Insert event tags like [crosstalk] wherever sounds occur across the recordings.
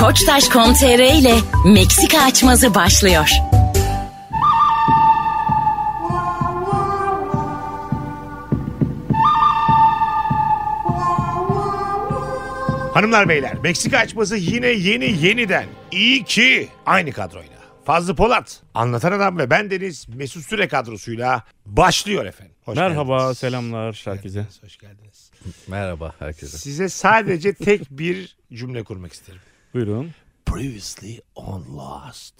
Koçtaş.com.tr ile Meksika açmazı başlıyor. Hanımlar beyler Meksika açması yine yeni yeniden. İyi ki aynı kadroyla. Fazlı Polat, Anlatan Adam ve ben Deniz Mesut Süre kadrosuyla başlıyor efendim. Hoş Merhaba, geldiniz. selamlar herkese. Hoş geldiniz. Merhaba herkese. Size sadece tek bir cümle kurmak isterim. Buyurun. Previously on Lost.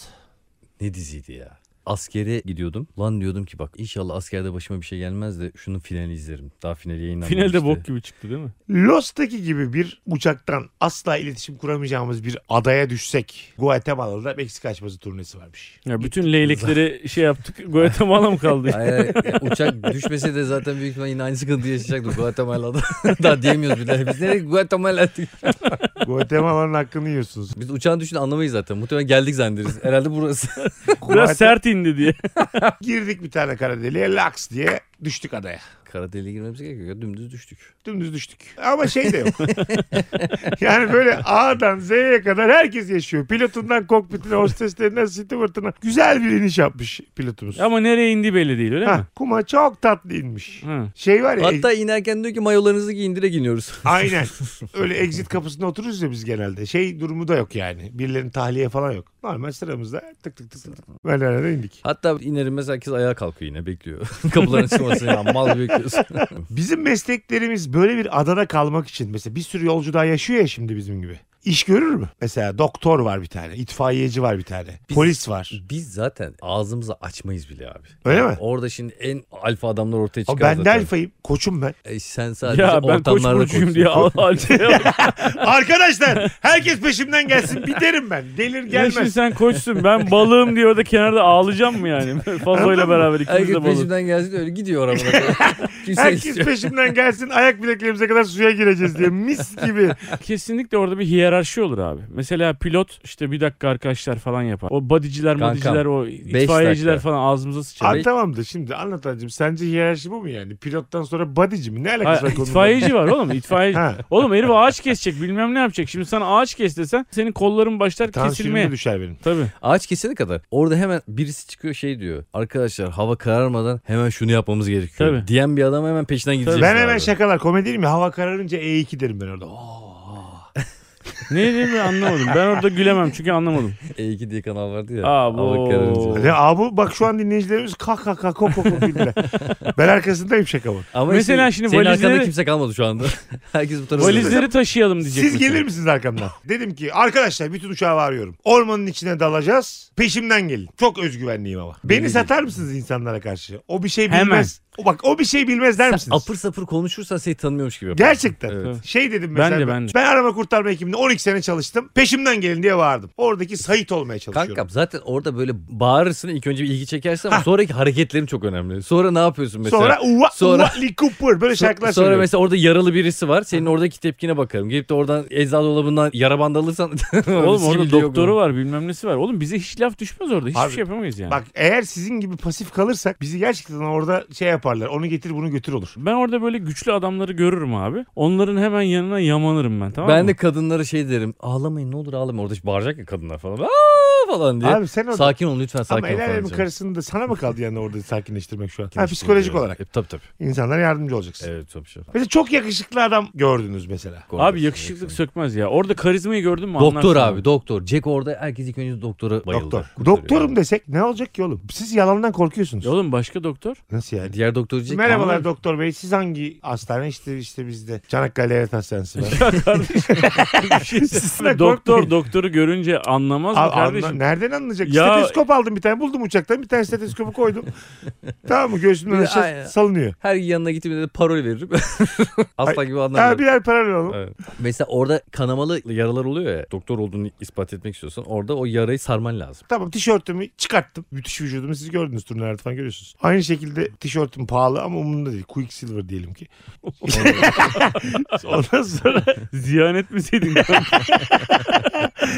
Ne diziydi ya? Askere gidiyordum. Lan diyordum ki bak inşallah askerde başıma bir şey gelmez de şunun finali izlerim. Daha finali yayınlanmamıştı. Finalde bok gibi çıktı değil mi? Lost'taki gibi bir uçaktan asla iletişim kuramayacağımız bir adaya düşsek Guatemala'da Meksika açması turnesi varmış. Ya bütün [laughs] leylekleri şey yaptık. Guatemala mı kaldı? Hayır, hayır. Ya uçak düşmese de zaten büyük ihtimalle yine aynı sıkıntıyı yaşayacaktık Guatemala'da. [laughs] Daha diyemiyoruz bile. Biz nereye Guatemala diyor. Guatemala'nın hakkını yiyorsunuz. Biz uçağın düşünü anlamayız zaten. Muhtemelen geldik zannederiz. Herhalde burası. [laughs] Guate- Biraz sert indi [laughs] diye. Girdik bir tane kara deliğe laks diye düştük adaya. Kara deliğe girmemiz gerekiyor. ya, Dümdüz düştük. Dümdüz düştük. Ama şey de yok. [laughs] yani böyle A'dan Z'ye kadar herkes yaşıyor. Pilotundan kokpitine, hosteslerinden, stewartına. Güzel bir iniş yapmış pilotumuz. Ama nereye indi belli değil öyle Ha, mi? kuma çok tatlı inmiş. Ha. Şey var ya. Hatta inerken diyor ki mayolarınızı giyin direkt iniyoruz. Aynen. Öyle exit kapısında otururuz ya biz genelde. Şey durumu da yok yani. Birilerinin tahliye falan yok. Normal sıramızda tık tık tık tık. tık. Böyle arada indik. Hatta inerim mesela herkes ayağa kalkıyor yine bekliyor. [laughs] Kapıların çıkmasını ya mal gibi bekliyorsun. Bizim mesleklerimiz böyle bir adada kalmak için. Mesela bir sürü yolcu daha yaşıyor ya şimdi bizim gibi. İş görür mü? Mesela doktor var bir tane. itfaiyeci var bir tane. Biz- polis var. Biz zaten ağzımızı açmayız bile abi. Öyle mi? Orada şimdi en alfa adamlar ortaya Ama çıkar ben de zaten. alfayım. Koçum [laughs] ben. E sen sadece Ya ben koç ortamlarda burcuyum koçsun. diye al- al- [laughs] şey yap. Arkadaşlar herkes peşimden gelsin. Biterim ben. Delir Ya şimdi gelmez. sen koçsun ben balığım diye orada kenarda ağlayacağım mı [laughs] yani? Fazoyla beraber ikimiz de Herkes balık. peşimden gelsin öyle gidiyor arabada. [laughs] Kimse Herkes istiyor. peşimden gelsin. Ayak bileklerimize kadar suya gireceğiz diye. [laughs] Mis gibi. Kesinlikle orada bir hiyerarşi olur abi. Mesela pilot işte bir dakika arkadaşlar falan yapar. O badiciler, Kankam, madiciler, o itfaiyeciler dakika. falan ağzımıza Şey- sıçar. Abi tamam da şimdi anlatancım sence hiyerarşi bu mu yani? Pilottan sonra bodyci mi? Ne Hayır, alakası var konunun? itfaiyeci var oğlum itfaiyeci. Ha. Oğlum herif ağaç kesecek bilmem ne yapacak. Şimdi sana ağaç kes desen senin kolların başlar Tansiyonum kesilmeye. da düşer benim. Tabii. Ağaç kesene kadar orada hemen birisi çıkıyor şey diyor. Arkadaşlar hava kararmadan hemen şunu yapmamız gerekiyor. Tabii. Diyen bir adam hemen peşinden gidecek. Ben hemen şakalar komedi değil mi? Hava kararınca E2 derim ben orada. Oo. Ne dediğimi anlamadım. Ben orada gülemem çünkü anlamadım. E2 E diye kanal vardı ya. Aa, bu- Hava kararınca. Ne abi bak şu an dinleyicilerimiz kah kah kah kok kok kok bildiler. ben arkasındayım şakamın. Ama Mesela işte şimdi senin valizleri- arkanda kimse kalmadı şu anda. [laughs] Herkes bu tarafa. Valizleri taşıyalım diyecek. Siz mesela. gelir misiniz arkamdan? Dedim ki arkadaşlar bütün uçağı arıyorum. Ormanın içine dalacağız. Peşimden gelin. Çok özgüvenliyim ama. Beni satar mısınız insanlara karşı? O bir şey Hemen. bilmez. O bak o bir şey bilmez der misiniz? Apır sapır konuşursan seni tanımıyormuş gibi. yapar. Gerçekten. Evet. Şey dedim Ben mesela. de, ben de. araba kurtarma ekibinde 12 sene çalıştım. Peşimden gelin diye bağırdım. Oradaki Sait olmaya çalışıyorum. Kankam zaten orada böyle bağırırsın ilk önce bir ilgi çekersin ama sonraki hareketlerin çok önemli. Sonra ne yapıyorsun mesela? Sonra uva Sonra- uva li kupur böyle So- şarkılar Sonra söylüyorum. mesela orada yaralı birisi var. Senin oradaki tepkine bakarım. Gelip de oradan eczacı dolabından yara bandı alırsan. [laughs] Oğlum orada sivilce yok doktoru mu? var bilmem nesi var. Oğlum bize hiç laf düşmez orada. Hiçbir Abi, şey yapamayız yani. Bak eğer sizin gibi pasif kalırsak bizi gerçekten orada şey yaparlar. Onu getir bunu götür olur. Ben orada böyle güçlü adamları görürüm abi. Onların hemen yanına yamanırım ben tamam Ben mı? de kadınlara şey derim. Ağlamayın ne olur ağlamayın. Orada işte bağıracak ya kadınlar falan. Aa falan diye. Abi sen orada Sakin olun lütfen sakin ama olun. el falan alemin diyeceğim. karısını da sana mı kaldı yani orada sakinleştirmek şu an? Kim Ha, işte psikolojik diyor. olarak. E, tabii tabii. İnsanlara yardımcı olacaksın. Evet tabii. tabii. Mesela çok yakışıklı adam gördünüz mesela. Abi yakışıklık sökmez ya. Orada karizmayı gördün mü şey Doktor anlarsın abi doktor. Jack orada herkes ilk önce doktora bayıldı. Doktor. Kurtarıyor. Doktorum desek ne olacak ki oğlum? Siz yalandan korkuyorsunuz. Ya Oğlum [laughs] başka doktor. Nasıl yani? Diğer doktor diyecek. ki, Merhabalar "Aman, doktor bey siz hangi hastane işte işte bizde Çanakkale Devlet Hastanesi [laughs] var. Ya kardeşim. bir şey söyleyeyim. doktor korkmayın. doktoru görünce anlamaz mı Abi, kardeşim? anla- nereden anlayacak? Ya- Steteskop aldım bir tane buldum uçaktan bir tane stetoskopu koydum. [laughs] tamam mı göğsümden Bir de- aşağı aynen. salınıyor. Her yanına gittiğimde de parol veririm. [laughs] Aslan gibi anlar. Ha, birer para alalım. Evet. Mesela orada kanamalı yaralar oluyor ya. Doktor olduğunu ispat etmek istiyorsan orada o yarayı sarman lazım. Tamam tişörtümü çıkarttım. Müthiş vücudumu siz gördünüz turnelerde falan görüyorsunuz. Aynı şekilde tişörtüm pahalı ama umurumda değil. Quicksilver diyelim [laughs] ki. Ondan sonra Ziyan etmeseydin.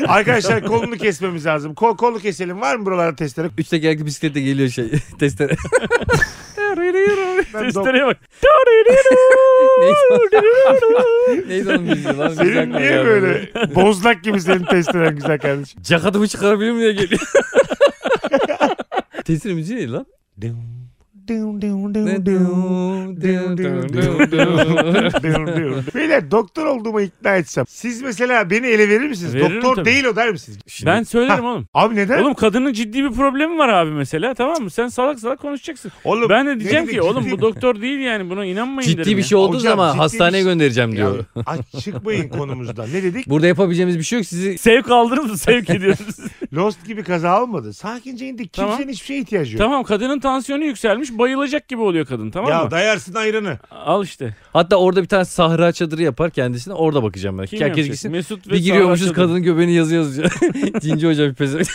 arkadaşlar kolunu kesmemiz lazım. Kol, kolu keselim var mı buralarda testere? [laughs] [laughs] Üç tekerlekli bisikletle geliyor şey testere. [laughs] Seslere bak. Neydi o? Neydi onun müziği lan? Müzik Senin aklıma niye gelmedi. böyle bozlak gibi senin testlerin güzel [laughs] kardeşim? Cakatımı çıkarabilir mi [laughs] diye geliyor. Tesir müziği neydi lan? Dum, dum, dum, dum, Ne- dum. dum, dum, dum, Dum, dum. Beyler doktor olduğuma ikna etsem. Siz mesela beni ele verir misiniz? Veririm doktor tabii. değil o der misiniz? Şimdi- Ben söylerim oğlum. Abi neden? Oğlum kadının ciddi bir problemi var abi mesela tamam mı? Sen salak salak konuşacaksın. Oğlum, ben de diyeceğim ne ki dedi? oğlum bu doktor değil yani buna inanmayın derim Ciddi bir ya. şey olduğu Hocam, zaman ciddi bir hastaneye şey- göndereceğim diyor. Ya, aç çıkmayın konumuzda. Ne dedik? Burada yapabileceğimiz bir şey yok. Sizi Sevk aldınız mı? Sevk [laughs] ediyorsunuz. Lost gibi kaza olmadı. Sakince indik. Kimsenin Tamam. hiçbir şeye ihtiyacı yok. tamam kadının tansiyonu yükselmiş bayılacak gibi oluyor kadın tamam ya mı? dayarsın ayranı. Al işte. hatta orada bir tane sahra çadırı yapar kendisine. Orada bakacağım ben. Kim Herkes yapacak? gitsin. Mesut ve Bir giriyormuşuz Sarı kadının göbeğini [laughs] yazı yazıyor. Cinci hoca bir pezevenk.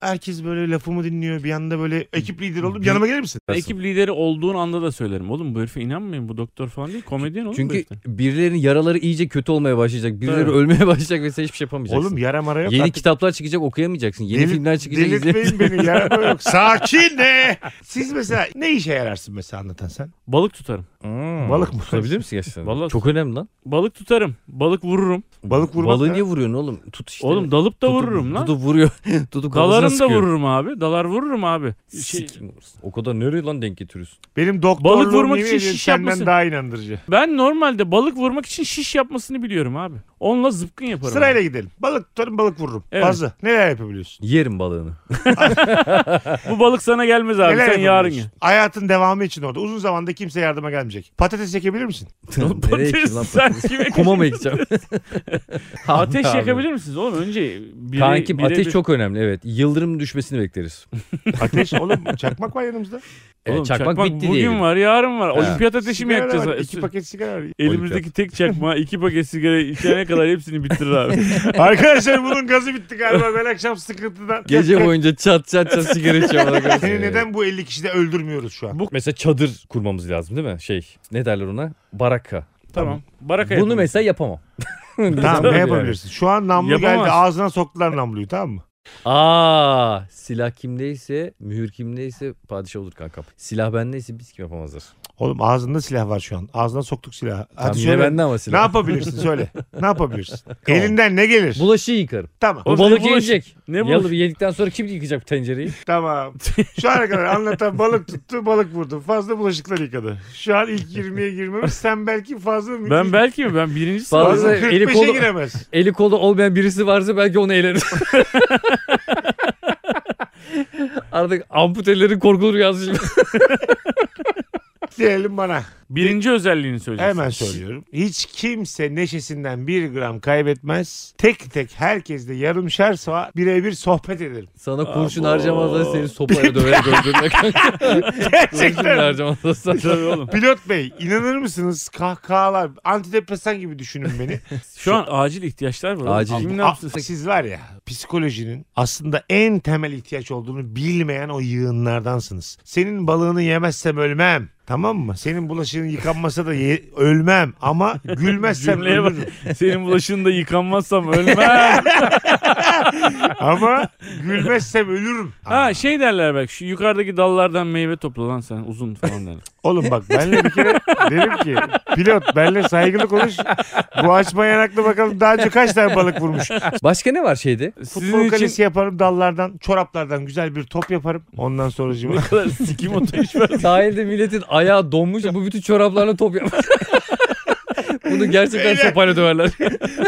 Herkes böyle lafımı dinliyor. Bir anda böyle ekip lideri oldum. Yanıma gelir misin? Arkadaş'ın. Ekip lideri olduğun anda da söylerim. Oğlum bu herife inanmayın bu doktor falan değil komedyen oğlum bu Çünkü heriften. birilerinin yaraları iyice kötü olmaya başlayacak. Birileri Tabii. ölmeye [laughs] başlayacak ve sen hiçbir şey yapamayacaksın. Oğlum yara mara yok. Yeni artık. kitaplar çıkacak okuyamayacaksın. Yeni Deli- filmler çıkacak izleyemeyeceksin. Delirtmeyin beni yara mara [laughs] yok. Sakin ne? Siz mesela ne işe yararsın mesela anlatan sen? Balık tutarım. Balık mı? Hmm, Tutabilir misin gerçekten? Vallahi- Çok önemli lan. Balık tutarım. Balık vururum. Balık vurmak Balığı ne? niye vuruyorsun oğlum? Tut işte. oğlum dalıp da Tutup- vururum lan. Tutup vuruyor. [laughs] Tutup kafasına Dalarım da sıkıyor. vururum abi. Dalar vururum abi. Şey, Sikim olsun. O kadar nereye lan denk getiriyorsun? Benim Balık vurmak doktorluğum yemin için ediyorum şiş senden yapması. daha inandırıcı. ben normalde balık vurmak için şiş yapmasını biliyorum abi. Onunla zıpkın yaparım. Sırayla abi. gidelim. Balık tutarım balık vururum. Evet. Fazla. Neler yapabiliyorsun? Yerim balığını. Bu balık sana gelmez abi. Neler Sen yarın yapabiliyorsun? ya. Hayatın devamı için orada. Uzun zamanda kimse yardıma gelmeyecek. Patates çekebilir misin? [laughs] nereye ekiyorsun lan? sen kime- Kuma mı ekeceğim? Ateş [laughs] Abi. yakabilir misiniz oğlum? Önce biri, Kankim bire ateş bir- çok önemli evet. Yıldırım düşmesini bekleriz. Ateş oğlum [laughs] çakmak var yanımızda. Evet, Oğlum, e, çakmak, bitti bugün diyelim. var yarın var. Olimpiyat ateşi mi Sigara da var, yakacağız? İki paket sigara [laughs] var. Elimizdeki tek çakma iki paket sigara içene kadar hepsini bitirir [laughs] abi. Arkadaşlar bunun gazı bitti galiba. Ben akşam sıkıntıdan. Gece boyunca çat çat çat sigara [laughs] içiyor. bana göre. Seni neden bu 50 kişide öldürmüyoruz şu an? Bu [laughs] mesela çadır kurmamız lazım değil mi? Şey ne derler ona? Baraka. tamam. Baraka Bunu yapalım. mesela [laughs] yapamam. Tamam Yani. ne yapabilirsin? Şu an namlu Yapamaz. geldi. Ağzına soktular namluyu tamam mı? Aa silah kimdeyse, mühür kimdeyse padişah olur kankam. Silah bendeyse biz kim yapamazlar. Oğlum ağzında silah var şu an. Ağzına soktuk silahı. Hadi Tamam, yine söyle. bende ama Ne silah. yapabilirsin söyle. Ne yapabilirsin? Elinden ne gelir? Bulaşığı yıkarım. Tamam. O Oğlum, balık ne bulaşı- yiyecek. ne Ne bulaşı- yedikten sonra kim yıkayacak bu tencereyi? Tamam. Şu ana kadar anlatan balık tuttu, balık vurdu. Fazla bulaşıklar yıkadı. Şu an ilk 20'ye girmemiş. Sen belki fazla mı? Ben belki mi? Ben birinci Bazı- sırada. fazla Fazla eli 45'e kolu- giremez. Eli kolu olmayan birisi varsa belki onu [laughs] eğlenir. Artık amputelerin korkulu rüyası. Diyelim bana. Birinci özelliğini söyleyeceksin. Hemen söylüyorum. Hiç kimse neşesinden bir gram kaybetmez. Tek tek herkesle yarımşar saat birebir sohbet [laughs] ederim. Sana kurşun Abo. harcamazlar seni [laughs] sopayla döverek öldürmek. kurşun Gerçekten. harcamazlar sana. Tabii oğlum. Pilot Bey inanır mısınız kahkahalar antidepresan gibi düşünün beni. Şu an acil ihtiyaçlar var. Acil. Kim ne A- yapsın? siz var ya psikolojinin aslında en temel ihtiyaç olduğunu bilmeyen o yığınlardansınız. Senin balığını yemezsem ölmem. Tamam mı? Senin bulaşığın yıkanmasa da ye- ölmem [laughs] ama gülmezsem Cümleye bak. ölürüm. [laughs] Senin bulaşığın da yıkanmazsam ölmem. Ama gülmezsem ölürüm. ha şey derler bak şu yukarıdaki dallardan meyve topla lan sen uzun falan derler. Oğlum bak benle bir kere dedim ki pilot benle saygılı konuş. Bu açma yanaklı bakalım daha önce kaç tane balık vurmuş. Başka ne [laughs] var şeyde? Sizin [laughs] Futbol için kalesi yaparım dallardan, çoraplardan güzel bir top yaparım. Ondan sonra [laughs] ne kadar sikim otu iş ver. Sahilde milletin ayağı donmuş. Bu bütün çoraplarla top yapar. [laughs] Bunu gerçekten Beyler. sopayla döverler.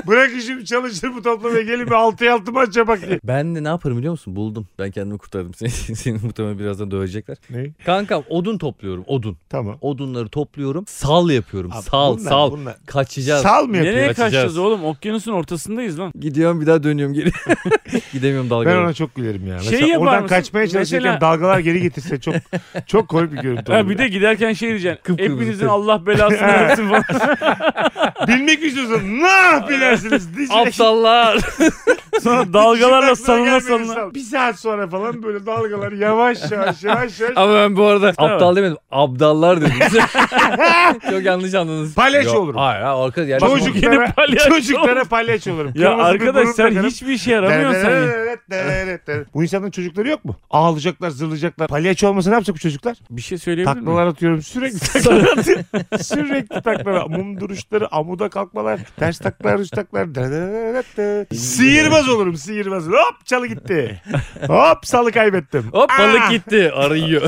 Bırak işimi çalışır bu toplamaya gelin bir 6'ya 6 maç yapak diye. Ben de ne yaparım biliyor musun? Buldum. Ben kendimi kurtardım. [laughs] Seni, seni muhtemelen birazdan dövecekler. [laughs] Ne? Kankam odun topluyorum. Odun. Tamam. Odunları topluyorum. Sal yapıyorum. Abi sal bunlar- sal. bunlar- Kaçacağız. Sal mı şey yapıyor? Nereye Açacağız. kaçacağız oğlum? Okyanusun ortasındayız lan. Gidiyorum bir daha dönüyorum geri. [laughs] Gidemiyorum Ben dalgalara. ona çok gülerim ya. Şey Mesela yapar oradan mısın? kaçmaya çalışırken Mesela- dalgalar geri getirse çok çok komik bir [laughs] görüntü olur. Ha, bir de giderken şey diyeceksin. Kıpkırmızı Hepinizin tüy. [laughs] Allah belasını versin falan. [laughs] [laughs] Bilmek istiyorsan ne yapıyorsunuz? diyecek. Aptallar. Sonra dalgalarla Aklına salına gelmedi salına. insan. Bir saat sonra falan böyle dalgalar yavaş yavaş yavaş yavaş. Ama ben bu arada Tamam. aptal demedim. Abdallar dedim. [laughs] Çok yanlış anladınız. Palyaço Yok, olurum. Hayır ha arkadaş. Yani Çocuk- yine Çocuklara, palyaço çocuklara palyaço olurum. Ya Kırmızı bir arkadaş burun sen takarım. hiçbir şey işe yaramıyorsun sen. ya. [laughs] Bu insanların çocukları yok mu? Ağlayacaklar, zırlayacaklar. Palyaço olmasa ne yapacak bu çocuklar? Bir şey söyleyebilir miyim? Taklalar atıyorum [laughs] sürekli taklalar atıyorum. sürekli taklalar. Mum duruşları, amuda kalkmalar, ters taklalar, üst taklalar. sihirbaz olurum sihirbaz. Hop çalı gitti. Hop salı kaybettim. Hop Aa! balık gitti arıyor.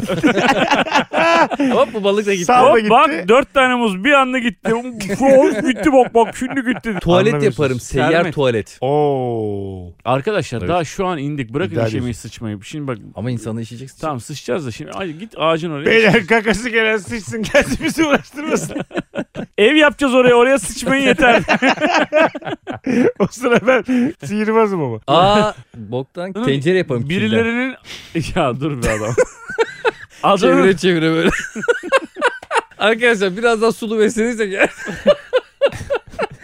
Hop bu balık da gitti. Sağ- Hop, Hop Abla gitti. bak dört tane muz bir [laughs] anda gitti. Of gitti bak bak şimdi gitti. Tuvalet Anlamıyorsunuz. yaparım seyyar Sermet. tuvalet. Oo. Arkadaşlar Evet. daha şu an indik. Bırakın İdeal işemeyi sıçmayı. Şimdi bak Ama insanı işeyeceksin. tamam sıçacağız da şimdi. Ay, git ağacın oraya. Beyler kakası gelen sıçsın kendimizi bizi uğraştırmasın. Ev yapacağız oraya oraya sıçmayın [laughs] yeter. o sıra ben sihirbazım ama. Aa boktan tencere yaparım. kirden. Birilerinin [laughs] ya dur be [laughs] adam. Adamın çevire çevire böyle. [laughs] Arkadaşlar biraz daha sulu verseniz de gel.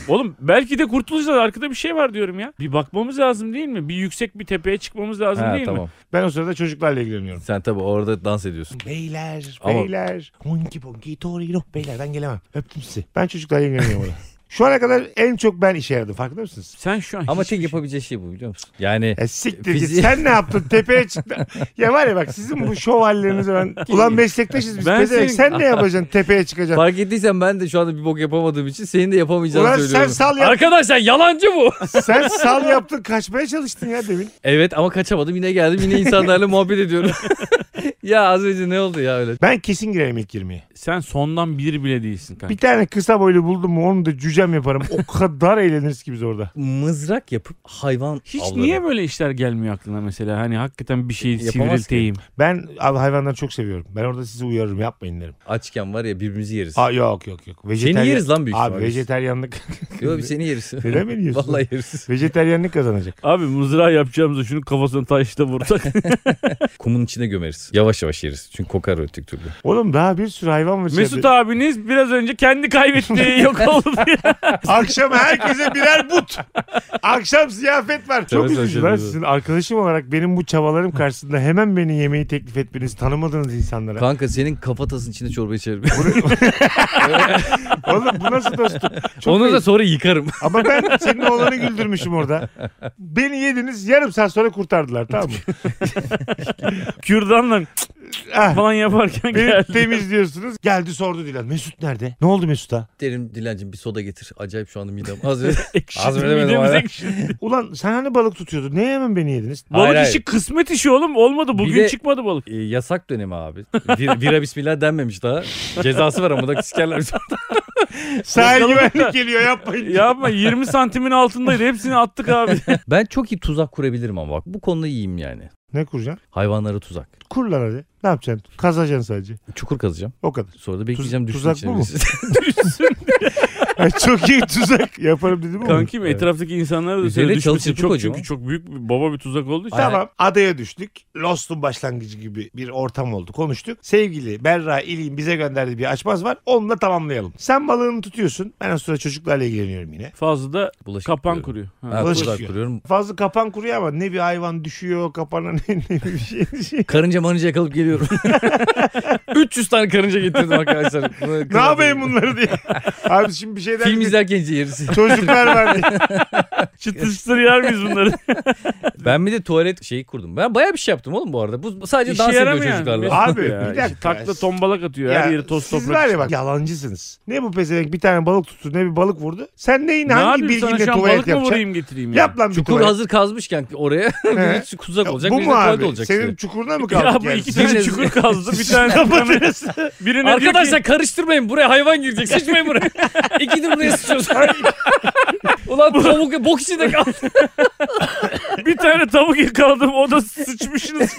Oğlum belki de kurtulacağız arkada bir şey var diyorum ya. Bir bakmamız lazım değil mi? Bir yüksek bir tepeye çıkmamız lazım Ha, değil mi? tamam. Ben o sırada çocuklarla ilgileniyorum. Sen tabii orada dans ediyorsun. Beyler, Ama- beyler. Honki bonki torino. Beyler ben gelemem. Öptüm sizi. Ben çocuklarla ilgileniyorum orada. Şu ana kadar en çok ben işe yaradım. Farkında mısınız? Sen şu an Ama hiçbir tek yapabileceği şey bu biliyor musun? Yani E siktir Fiziği- git. Sen ne yaptın? Tepeye çıktın. ya var ya bak sizin bu şov hallerinize ben... Ulan meslektaşız biz. Ben Pezevenk. senin- Sen ne yapacaksın? Tepeye çıkacaksın. fark ettiysen ben de şu anda bir bok yapamadığım için senin de yapamayacağını Ulan sen şey söylüyorum. sal, yap- Arkadaşlar yalancı [laughs] [laughs] bu. sen sal yaptın. Kaçmaya çalıştın ya demin. evet ama kaçamadım yine geldim yine [laughs] insanlarla muhabbet ediyorum. ya az önce ne oldu ya öyle? Ben kesin girerim ilk 20'ye. Sen sondan bir bile değilsin kanka. Bir tane kısa boylu buldum mu onu da cücem yaparım. O kadar eğleniriz ki biz orada. Mızrak yapıp hayvan Hiç avlarım. niye böyle işler gelmiyor aklına mesela? Hani hakikaten bir şeyi Yapamaz ki. sivrilteyim. Ben abi hayvanları çok seviyorum. Ben orada sizi uyarırım yapmayın derim. Açken var ya birbirimizi yeriz. Aa, yok yok yok. Vejeteryan- Seni yeriz lan büyük Abi ihtimalle. vejeteryanlık. [laughs] Yok bir seni [laughs] yeriz. Neden beni yiyorsun? Vallahi yeriz. Vejeteryanlık kazanacak. Abi mızrağı yapacağımızda şunun kafasına taşla vursak. Kumun içine gömeriz. Yavaş yavaş yeriz. Çünkü kokar ötük türlü. Oğlum daha bir sürü hayvan var. Mesut içeride. abiniz biraz önce kendi [laughs] kaybetti. Yok oldu diye. Akşam herkese birer but. Akşam ziyafet var. Çok Tabii üzücü tabii. lan sizin arkadaşım olarak benim bu çabalarım karşısında hemen beni yemeği teklif etmeniz tanımadığınız insanlara. Kanka senin kafatasın içinde çorba içerim. [laughs] Oğlum bu nasıl dostum? Çok Onu da ayıp. sonra yıkarım. [laughs] Ama ben senin oğlanı güldürmüşüm orada. Beni yediniz yarım saat sonra kurtardılar tamam [laughs] mı? Kürdanla Ah, falan yaparken Beni geldi. temizliyorsunuz. Geldi sordu Dilan. Mesut nerede? Ne oldu Mesut'a? Derim Dilancım bir soda getir. Acayip şu anda midem az önce. Ekşidi, Az veremedim midemiz hala. ekşidi. Ulan sen hani balık tutuyordun? Niye hemen beni yediniz? Balık Hayır, işi kısmet işi oğlum. Olmadı. Bugün Bir de- çıkmadı balık. [laughs] E, yasak dönemi abi. Bir, bira bismillah denmemiş [laughs] daha. Cezası var ama da sikerler. Sahil Bakalım. güvenlik geliyor yapmayın. [laughs] Yapma 20 santimin altındaydı. Hepsini attık [laughs] abi. ben çok iyi tuzak kurabilirim ama bak bu konuda iyiyim yani. Ne kuracaksın? Hayvanlara tuzak. Kur lan hadi. Ne yapacaksın? Kazacaksın sadece. Çukur kazacağım. O kadar. Sonra da bekleyeceğim düşsün tuzak içine bu mu? birisi. Ay, çok iyi tuzak yaparım dedim ama. Kankim etraftaki insanlara da söyle Üzerine çalı düşmesi çırpı çok koyacağım çünkü ha. çok büyük bir baba bir tuzak olduğu için. Tamam adaya düştük. Lost'un başlangıcı gibi bir ortam oldu. Konuştuk. Sevgili Berra İli'nin bize gönderdiği bir açmaz var. Onunla tamamlayalım. Sen balığını tutuyorsun. Ben o sırada çocuklarla ilgileniyorum yine. Fazla da [laughs] Bulaşık kapan kuruyorum. kuruyor. Ha. Ha, Bulaşık tuzak yiyor. kuruyorum. Fazla kapan kuruyor ama ne bir hayvan düşüyor kapana [laughs] ne, ne bir şey düşüyor. Karınca marınca [laughs] yakalıp geliyorum. 300 tane karınca getirdim arkadaşlar. Bunu ne yapayım bunları [laughs] diye. Abi şimdi bir şeyden... Film izlerken yeriz. Çocuklar var diye. Çıtır çıtır yer miyiz [laughs] bunları? Ben bir de tuvalet şeyi kurdum. Ben bayağı bir şey yaptım oğlum bu arada. Bu sadece İşe dans ediyor yaramıyor. çocuklarla. Mesut- Abi, bir ya. işte dakika. Takla tombalak atıyor. [laughs] Her yeri toz siz toprak. var ya bak yalancısınız. Ne bu pezevenk bir tane balık tuttu ne bir balık vurdu. Sen neyin Ne hangi yapayım sana bilginle şu an tuvalet balık mı yapacaksın? vurayım getireyim ya? Yap lan bir Çukur tuvalet. hazır kazmışken oraya [laughs] He. bir kuzak Ya olacak. bu bir de mu tuvalet abi? olacak Senin işte. çukuruna mı kaldık Ya bu yani? [laughs] iki tane Birine- çukur kazdı bir tane tutamıyor. Kapatırız. Birine diyor Arkadaşlar ki karıştırmayın buraya hayvan girecek [laughs] sıçmayın buraya. İkidir buraya sıçıyorsun. [laughs] Ulan tavuk bok içinde kaldı. bir tane tavuk yakaladım o da sıçmışsınız.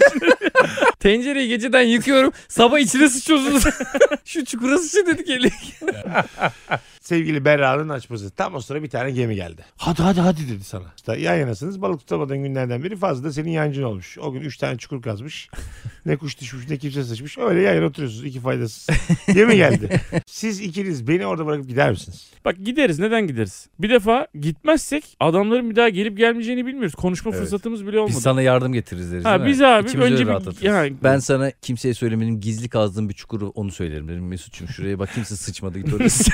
Tencereyi geceden [laughs] yıkıyorum sabah içine sıçıyorsunuz. Şu çukura sıçın dedi geliyor. [laughs] sevgili Berra'nın açması. Tam o sıra bir tane gemi geldi. [laughs] Hadi hadi hadi dedi sana. İşte yan yanasınız balık tutamadığın günlerden beri fazla da senin yancın olmuş. O gün 3 tane çukur kazmış. ne kuş düşmüş ne kimse sıçmış. Öyle yan yana oturuyorsunuz iki faydasız. gemi geldi. Siz ikiniz beni orada bırakıp gider misiniz? Bak gideriz neden gideriz? Bir defa gitmezsek adamların bir daha gelip gelmeyeceğini bilmiyoruz. Konuşma Evet. fırsatımız bile olmadı. Biz sana yardım getiririz deriz Ha, değil mi? biz abi İkimize de önce bir- rahatlatırız. yani- Ben sana kimseye söylemedim gizli kazdığım bir çukuru onu söylerim derim. Mesut'cum şuraya bak kimse sıçmadı git [laughs] oraya. sıç.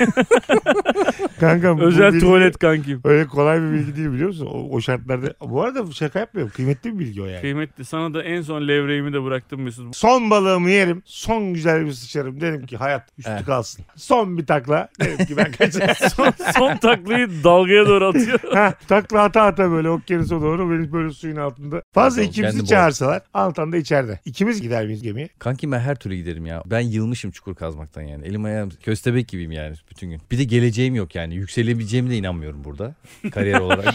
Kankam. bu Özel bilgi tuvalet kankim. Öyle kolay bir bilgi değil biliyor musun? O, o şartlarda. Bu arada şaka yapmıyorum. Kıymetli bir bilgi o yani. Kıymetli sana da en son levreğimi de bıraktım Mesut. Son balığımı yerim. Son güzel bir sıçarım. Derim ki hayat üstü Evet. kalsın. Son bir takla. Derim ki ben [laughs] kaçarım. Son, [laughs] son taklayı dalgaya doğru atıyor. Ha, takla ata ata böyle okyanusa doğru benim böyle suyun altında. Fazla Tamam, ikimizi kendi çağırsalar Altan da içeride. İkimiz gider miyiz gemiye? Kanki ben her türlü giderim ya. Ben yılmışım çukur kazmaktan yani. Elim ayağım köstebek gibiyim yani bütün gün. Bir de geleceğim yok yani. Yükselebileceğime de inanmıyorum burada. Kariyer olarak.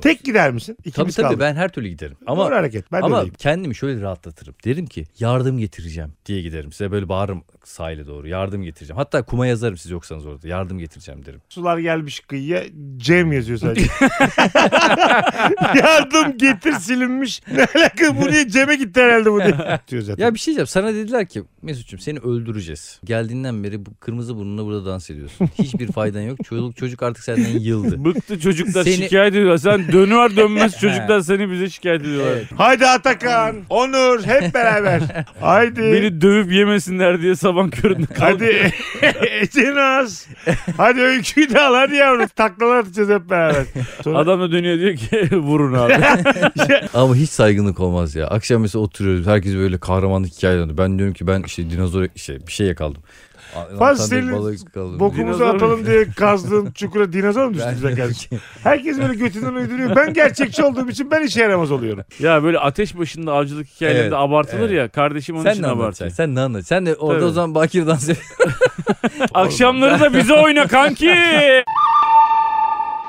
Tek gider misin? tabii İkimiz tabii kaldık. ben her türlü giderim. Ama Doğru hareket. Ben de Ama öyleyim. kendimi şöyle rahatlatırım. Derim ki yardım getireceğim diye giderim. Size böyle bağırırım sahile doğru. Yardım getireceğim. Hatta kuma yazarım siz yoksanız orada. Yardım getireceğim derim. Sular gelmiş kıyıya Cem yazıyor [laughs] sadece. [laughs] Yardım getir silinmiş. Ne alaka bu diye Cem'e gitti herhalde bu [laughs] diye. Diyor zaten. Ya bir şey diyeceğim. Sana dediler ki Mesut'cum seni öldüreceğiz. Geldiğinden beri bu kırmızı burnuna burada dans ediyorsun. Hiçbir faydan yok. Çocuk çocuk artık senden [laughs] [laughs] yıldı. Bıktı çocuklar Seni- şikayet ediyorlar. Sen dönüver dönmez çocuklar seni bize şikayet ediyorlar. Haydi Atakan, Onur hep [laughs] beraber. Haydi. Beni dövüp yemesinler diye sabah köründe kalk. Hadi [laughs] Etinaz. Hadi öyküyü de al hadi yavrum. Taklalar atacağız hep beraber. Sonra Adam da dönüyor diyor ki [laughs] vurun abi. Ama hiç saygınlık olmaz ya. Akşam mesela oturuyoruz. Herkes böyle kahramanlık hikayelerinde. Ben diyorum ki ben işte dinozor şey, bir şey yakaladım. Fazla Anlatan bir senin balık yakaladım. bokumuzu Dinozor atalım mu? diye kazdığım çukura dinozor mu düştü bize kardeşim? Herkes böyle götünden uyduruyor. Ben gerçekçi olduğum için ben işe yaramaz oluyorum. ya böyle ateş başında avcılık hikayelerinde Evet, abartılır evet. ya. Kardeşim onun Sen için ne abartıyor. anlatacaksın? Sen ne anlatacaksın? Sen de orada Tabii. o zaman Bakir dans et. Akşamları da [laughs] bize oyna kanki.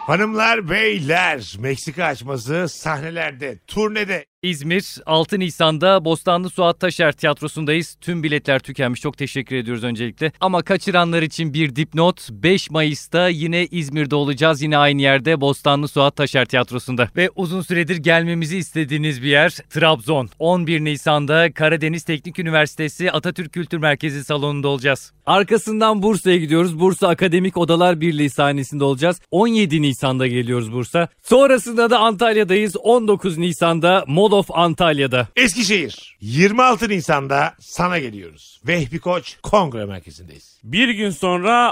Hanımlar, beyler Meksika açması sahnelerde, turnede. İzmir 6 Nisan'da Bostanlı Suat Taşer Tiyatrosu'ndayız. Tüm biletler tükenmiş. Çok teşekkür ediyoruz öncelikle. Ama kaçıranlar için bir dipnot. 5 Mayıs'ta yine İzmir'de olacağız. Yine aynı yerde Bostanlı Suat Taşer Tiyatrosu'nda. Ve uzun süredir gelmemizi istediğiniz bir yer Trabzon. 11 Nisan'da Karadeniz Teknik Üniversitesi Atatürk Kültür Merkezi salonunda olacağız. Arkasından Bursa'ya gidiyoruz. Bursa Akademik Odalar Birliği sahnesinde olacağız. 17 Nisan'da geliyoruz Bursa. Sonrasında da Antalya'dayız. 19 Nisan'da Mall of Antalya'da. Eskişehir 26 Nisan'da sana geliyoruz. Vehbi Koç Kongre Merkezi'ndeyiz. Bir gün sonra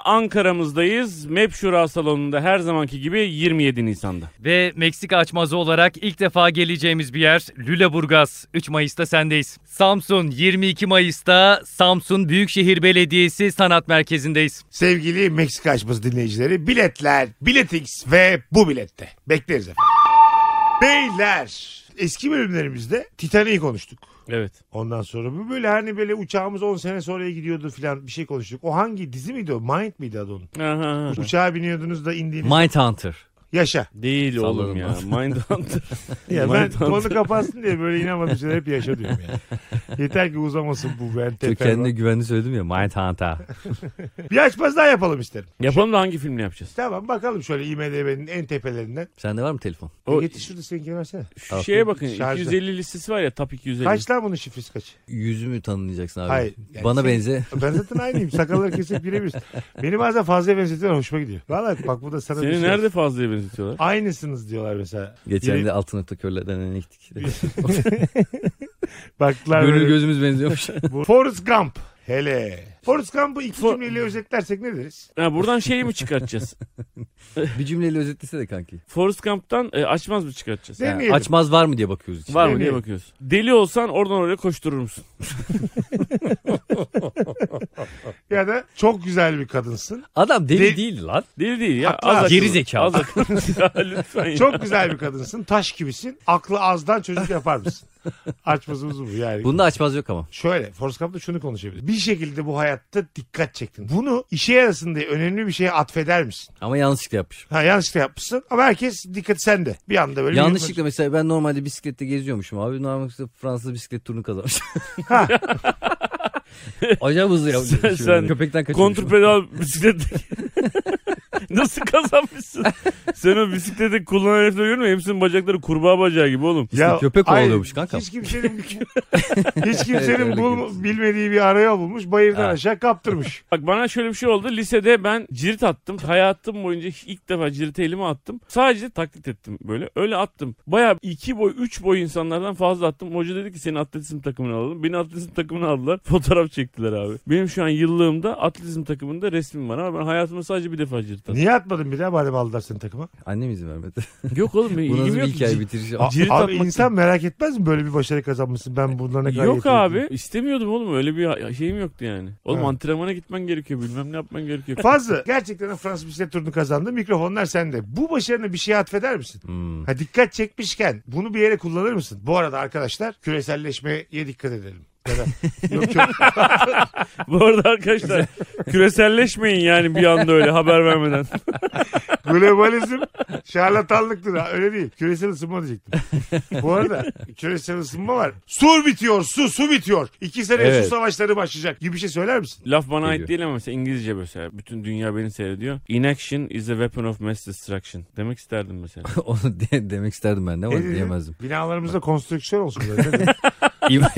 Ankara'mızdayız. MEP Şura Salonu'nda her zamanki gibi 27 Nisan'da. Ve Meksika açmazı olarak ilk defa geleceğimiz bir yer Lüleburgaz. 3 Mayıs'ta sendeyiz. Samsun 22 Mayıs'ta Samsun Büyükşehir Belediyesi Sanat Merkezi'ndeyiz. Sevgili Meksika açması dinleyicileri biletler, biletix ve bu bilette. Bekleriz efendim. Beyler eski bölümlerimizde Titanic'i konuştuk. Evet. Ondan sonra bu böyle hani böyle uçağımız 10 sene sonraya gidiyordu filan bir şey konuştuk. O hangi dizi miydi o? Mind miydi adı onun? Aha. Uçağa biniyordunuz da indiğiniz. Mindhunter. Yaşa. Değil oğlum Salladım ya. [laughs] Mindhunter. Ya ben Mindhunter. konu kapansın diye böyle inanmadığım şeyler hep yaşa diyorum yani. [laughs] Yeter ki uzamasın bu ben Çok tekrar. kendine güvenli söyledim ya. Mindhunter. Bir açmaz daha yapalım isterim. Yapalım da hangi filmle yapacağız? Tamam bakalım şöyle IMDB'nin en tepelerinden. Sende var mı telefon? O- O... Getir şurada seninkini versene. Şu Tamam. şeye bakın. Şarjda. 250 listesi var ya top 250. Kaç lan bunun şifresi kaç? Yüzümü tanıyacaksın abi. Hayır, yani Bana şey- benze. Ben zaten aynıyım. Sakalları kesip birebiriz. [laughs] Beni bazen fazla benzetiyorlar hoşuma gidiyor. Valla bak bu da sana bir Seni şey. nerede fazlaya benzetiyorlar? Aynısınız diyorlar mesela. Geçen Biri- de altın nokta körlerden en gittik. [laughs] Baktılar Gönül böyle- [laughs] gözümüz benziyormuş. Bu- Forrest Gump. Hele. Forrest Gump'ı iki cümleyle özetlersek ne deriz? Ha, buradan şeyi mi [laughs] çıkartacağız? bir cümleyle özetlese de kanki. Forrest Gump'tan e, açmaz mı çıkartacağız? Ha, Deneyelim. açmaz var mı diye bakıyoruz. içine. Var mı Deneyelim. diye bakıyoruz. Deli olsan oradan oraya koşturur musun? Ya da çok güzel bir kadınsın. Adam deli Deli- değil lan. Deli değil ya. Haklı az abi. akıllı. Geri zekalı. Az [laughs] akıllı. Ya lütfen ya. Çok güzel bir kadınsın. Taş gibisin. Aklı azdan çocuk yapar mısın? Açmazımız bu yani. Bunda açmaz yok ama. Şöyle Forrest Gump'ta şunu konuşabiliriz. Bir şekilde bu hayatta dikkat çektin. Bunu işe yarasın diye önemli bir şeye atfeder misin? Ama yanlışlıkla yapmış. Ha yanlışlıkla yapmışsın ama herkes dikkati sende. Bir anda böyle. bir- yanlışlıkla mesela ben normalde bisiklette geziyormuşum abi. Normalde Fransız bisiklet turunu kazanmış. [laughs] Acayip hızlı yap- Sen- şey sen- Köpekten kaçırmış. Kontur pedal bisiklet. [laughs] Nasıl kazanmışsın? Sen o bisikleti kullanan herifleri görmüyor musun? Hepsinin bacakları kurbağa bacağı gibi oğlum. İşte köpek ay, kovalıyormuş kanka. Hiç [laughs] kimsenin, hiç Evet, kimsenin öyle bul- görürsün. bilmediği bir araya bulmuş. Bayırdan Ha. aşağı [laughs] kaptırmış. Bak bana şöyle bir şey oldu. Lisede ben cirit attım. Hayatım boyunca ilk defa cirit elime attım. Sadece taklit ettim böyle. Öyle attım. Bayağı iki boy, üç boy insanlardan fazla attım. Hoca dedi ki senin atletizm takımını alalım. Beni atletizm takımına aldılar. [laughs] Fotoğraf çektiler abi. Benim şu an yıllığımda atletizm takımında resmim var ama ben hayatımda sadece bir defa cirit attım. Niye atmadın bir daha madem aldılar seni takıma? Annem izin vermedi. Yok oğlum benim Bu nasıl ilgim bir yok. ki. hikaye bitirişi? A- Cirit abi atmak- insan merak etmez mi böyle bir başarı kazanmışsın? Ben bunlara ne kadar Yok yetenekliyim? abi istemiyordum oğlum öyle bir şeyim yoktu yani. Oğlum Ha. antrenmana gitmen gerekiyor bilmem ne yapman gerekiyor. Fazlı gerçekten de Fransız bisiklet turunu kazandı. Mikrofonlar sende. Bu başarını bir şeye atfeder misin? Hmm. Ha, dikkat çekmişken bunu bir yere kullanır mısın? Bu arada arkadaşlar küreselleşmeye dikkat edelim. Ya da- yok yok. Bu arada arkadaşlar küreselleşmeyin yani bir anda öyle haber vermeden. Globalizm şarlatanlıktır ha. Öyle değil. Küresel ısınma diyecektim. Bu arada küresel ısınma var. Su bitiyor su su bitiyor. İki sene Evet. su savaşları başlayacak gibi bir şey söyler misin? Laf bana Geliyor. ait değil ama mesela İngilizce mesela. Bütün dünya beni seyrediyor. Inaction is a weapon of mass destruction. Demek isterdim mesela. [laughs] Onu de- demek isterdim ben de ama Ne dedin? diyemezdim. Binalarımızda konstrüksiyon olsun. böyle. Ne dedin? [laughs]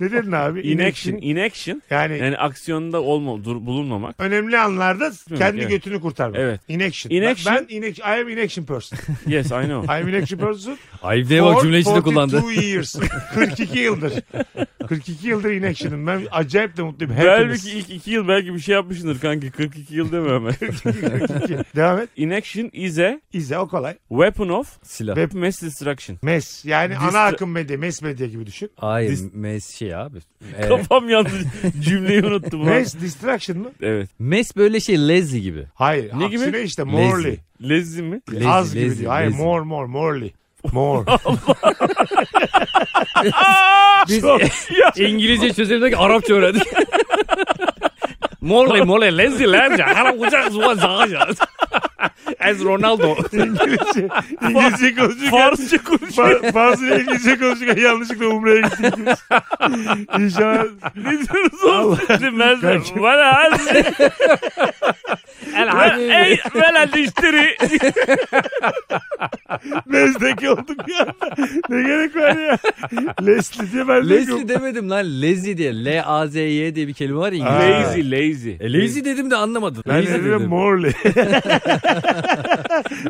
ne dedin abi? Inaction, inaction Yani yani aksiyonda olma, dur, bulunmamak. önemli anlarda kendi evet. götünü kurtarmak. Evet. Inaction. Inaction. Ben, ben inac- I am inaction person. Yes I know. I am inaction [laughs] person. Ayıp diye bak for cümle içinde 42 kullandı. years. [laughs] 42 yıldır. 42 yıldır inaction'ım. Ben acayip de mutluyum. [laughs] Hepimiz. belki ilk iki yıl belki bir şey yapmışsındır kanki. 42 yıl deme hemen. 42. Devam et. Inaction is a İzle o kolay. weapon of Silah. mass destruction. Mes yani Distra- ana akım medya, mes medya gibi düşün. Hayır Dis- mes şey [laughs] abi. Ee, Kafam yandı. Cümleyi unuttum. lan. Mes distraction mı? Evet. mes böyle şey lazy gibi. Hayır. Ne Ne gibi? aksine işte morely. Lezzi mi? Lazy, Az gibi lazy, diyor. Hayır lazy. more more morely. More. Biz İngilizce çözelim ki Arapça [laughs] öğrendik. Mole mole lezi lezi. Hala uçak zuva zaga Ez Ronaldo. İngilizce, İngilizce konuşurken. Farsça konuşuyor. Fa- Fazla İngilizce konuşurken yanlışlıkla Umre'ye gittik. ikimiz. İnşallah. Ne diyorsunuz oğlum? Şimdi ben Kanka. bana hadi. Bana- Ey bana dişleri. Mezdeki olduk bir anda. Ne gerek var ya? Leslie diye ben de yokum. Leslie demedim lan. Lazy diye. L-A-Z-Y diye bir kelime var ya İngilizce. Lazy lazy. E, lazy dedim de anlamadın. Ben lazy de dedim Morley. [laughs]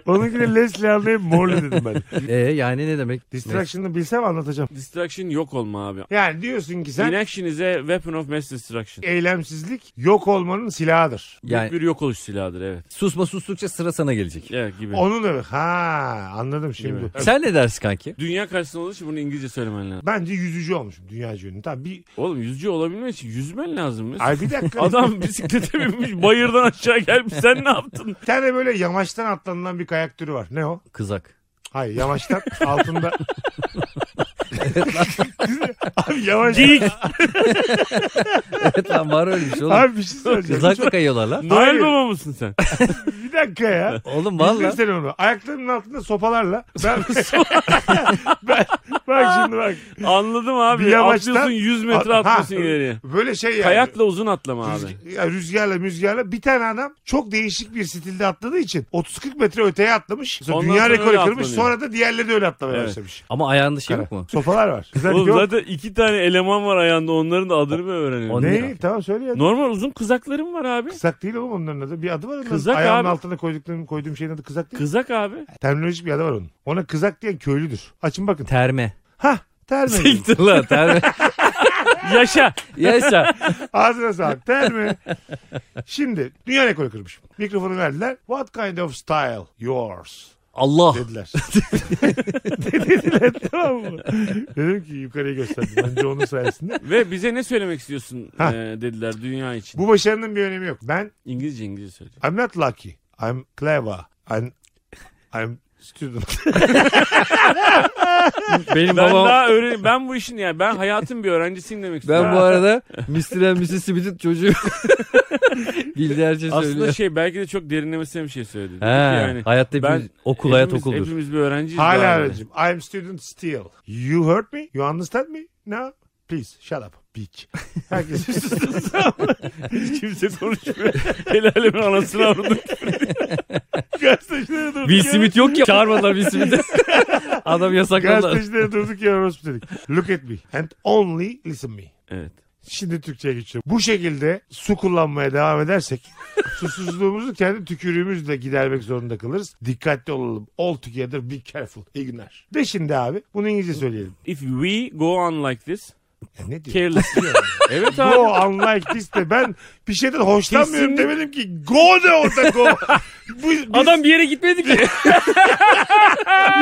Onunkine Leslie anlayıp Morley dedim ben. E, yani ne demek? Distraction'ı bilsem anlatacağım. Distraction yok olma abi. Yani diyorsun ki sen Inaction is a weapon of mass destruction. eylemsizlik yok olmanın silahıdır. Yani Bir yok oluş silahıdır evet. susma sustukça sıra sana gelecek. Evet gibi. Onun da ha anladım şimdi. Değil Sen ne dersin kanki? Dünya karşısında olduğu için bunu İngilizce söylemen lazım. Bence yüzücü olmuşum dünya ünlü. Tabii bir, Oğlum yüzücü olabilmen için yüzmen lazım. ya. ay bir dakika. [laughs] Adam bisiklete binmiş bayırdan aşağı gelmiş sen ne yaptın? Bir tane böyle yamaçtan atlanılan bir kayak türü var. Ne o? Kızak. [laughs] Hayır [laughs] yamaçtan altında. Abi yavaş. Geyik. evet lan var öyle bir şey oğlum. Abi bir şey söyleyeceğim. Kızakla kayıyorlar lan. Noel Hayır. baba mısın sen? Bir dakika [laughs] ya. Oğlum Valla. valla. İzle onu. Ayaklarımın altında sopalarla. Ben, [laughs] ben, bak şimdi bak. [laughs] Anladım abi. Bir yamaçtan- Atlıyorsun 100 metre Ha, atlıyorsun ileriye. Böyle şey yani. Kayakla uzun atlama abi. Rüzg- ya rüzgarla müzgarla bir tane adam çok değişik bir stilde atladığı için 30-40 metre öteye atlamış. Sonra Ondan dünya sonra rekoru öyle kırmış. atlanıyor. Sonra da diğerleri de öyle atlamaya Evet. başlamış. Ama ayağında şey yok mu? Sopalar var. Kızak Oğlum yok. zaten iki tane eleman var ayağında onların da adını mı öğreniyorsun? O Ne? ne? Tamam söyle ya. Normal uzun kızaklarım var abi. Kızak değil oğlum onların adı. Bir adı var. Onların. Kızak Ayağımın abi. altına koyduklarım, koyduğum şeyin adı kızak değil. Kızak abi. Terminolojik bir adı var onun. Ona kızak diyen köylüdür. Açın bakın. Terme. [laughs] Hah terme. Siktir lan terme. [laughs] Yaşa. Yaşa. Ağzına sağlık. Terme. Şimdi dünya rekoru kırmış. Mikrofonu verdiler. What kind of style yours? Oh. Allah. dediler. dediler tamam mı? Dedim ki yukarıya gösterdim. Önce onun sayesinde. Ve bize ne söylemek istiyorsun Ha. eee, dediler dünya için. Bu başarının bir önemi yok. Ben İngilizce İngilizce söyle. I'm not lucky. I'm clever. I'm, I'm student. Ben Benim babam. daha öğren ben bu işin yani ben hayatın bir öğrencisiyim demek istiyorum. Ben bu arada Mr. and Mrs. Smith'in çocuğu. [laughs] Bildiği her şeyi aslında söylüyor. şey belki de çok derinlemesine bir şey söyledi. Dedi ki He, yani hayatta hepimiz, ben- okul hayat hepimiz- okuldur. Hepimiz bir öğrenciyiz. Hala daha. öğrencim. I'm student still. You heard me? You understand me? No? Please shut up. Pik. Herkes Hiç kimse konuşmuyor. El alemin anasını [laughs] avradım. Gazetecilere durduk Will yere- Smith yok ki. [laughs] Çağırmadılar [laughs] Will Smith'i. Adam yasakladı. gazetecilere durduk ya orospu dedik. Look at me and only listen me. Evet. Şimdi Türkçe'ye geçiyorum. Bu şekilde su kullanmaya devam [laughs] edersek susuzluğumuzu kendi tükürüğümüzle gidermek zorunda kalırız. Dikkatli olalım. All together be careful. İyi günler. De şimdi abi. Bunu İngilizce söyleyelim. If we go on like [laughs] this, Ya ne diyor? careless. evet abi. Go unlike this de ben bir şeyden hoşlanmıyorum Kesinlikle. demedim ki go de orada [laughs] go. Bu- biz- Adam bir yere gitmedi ki.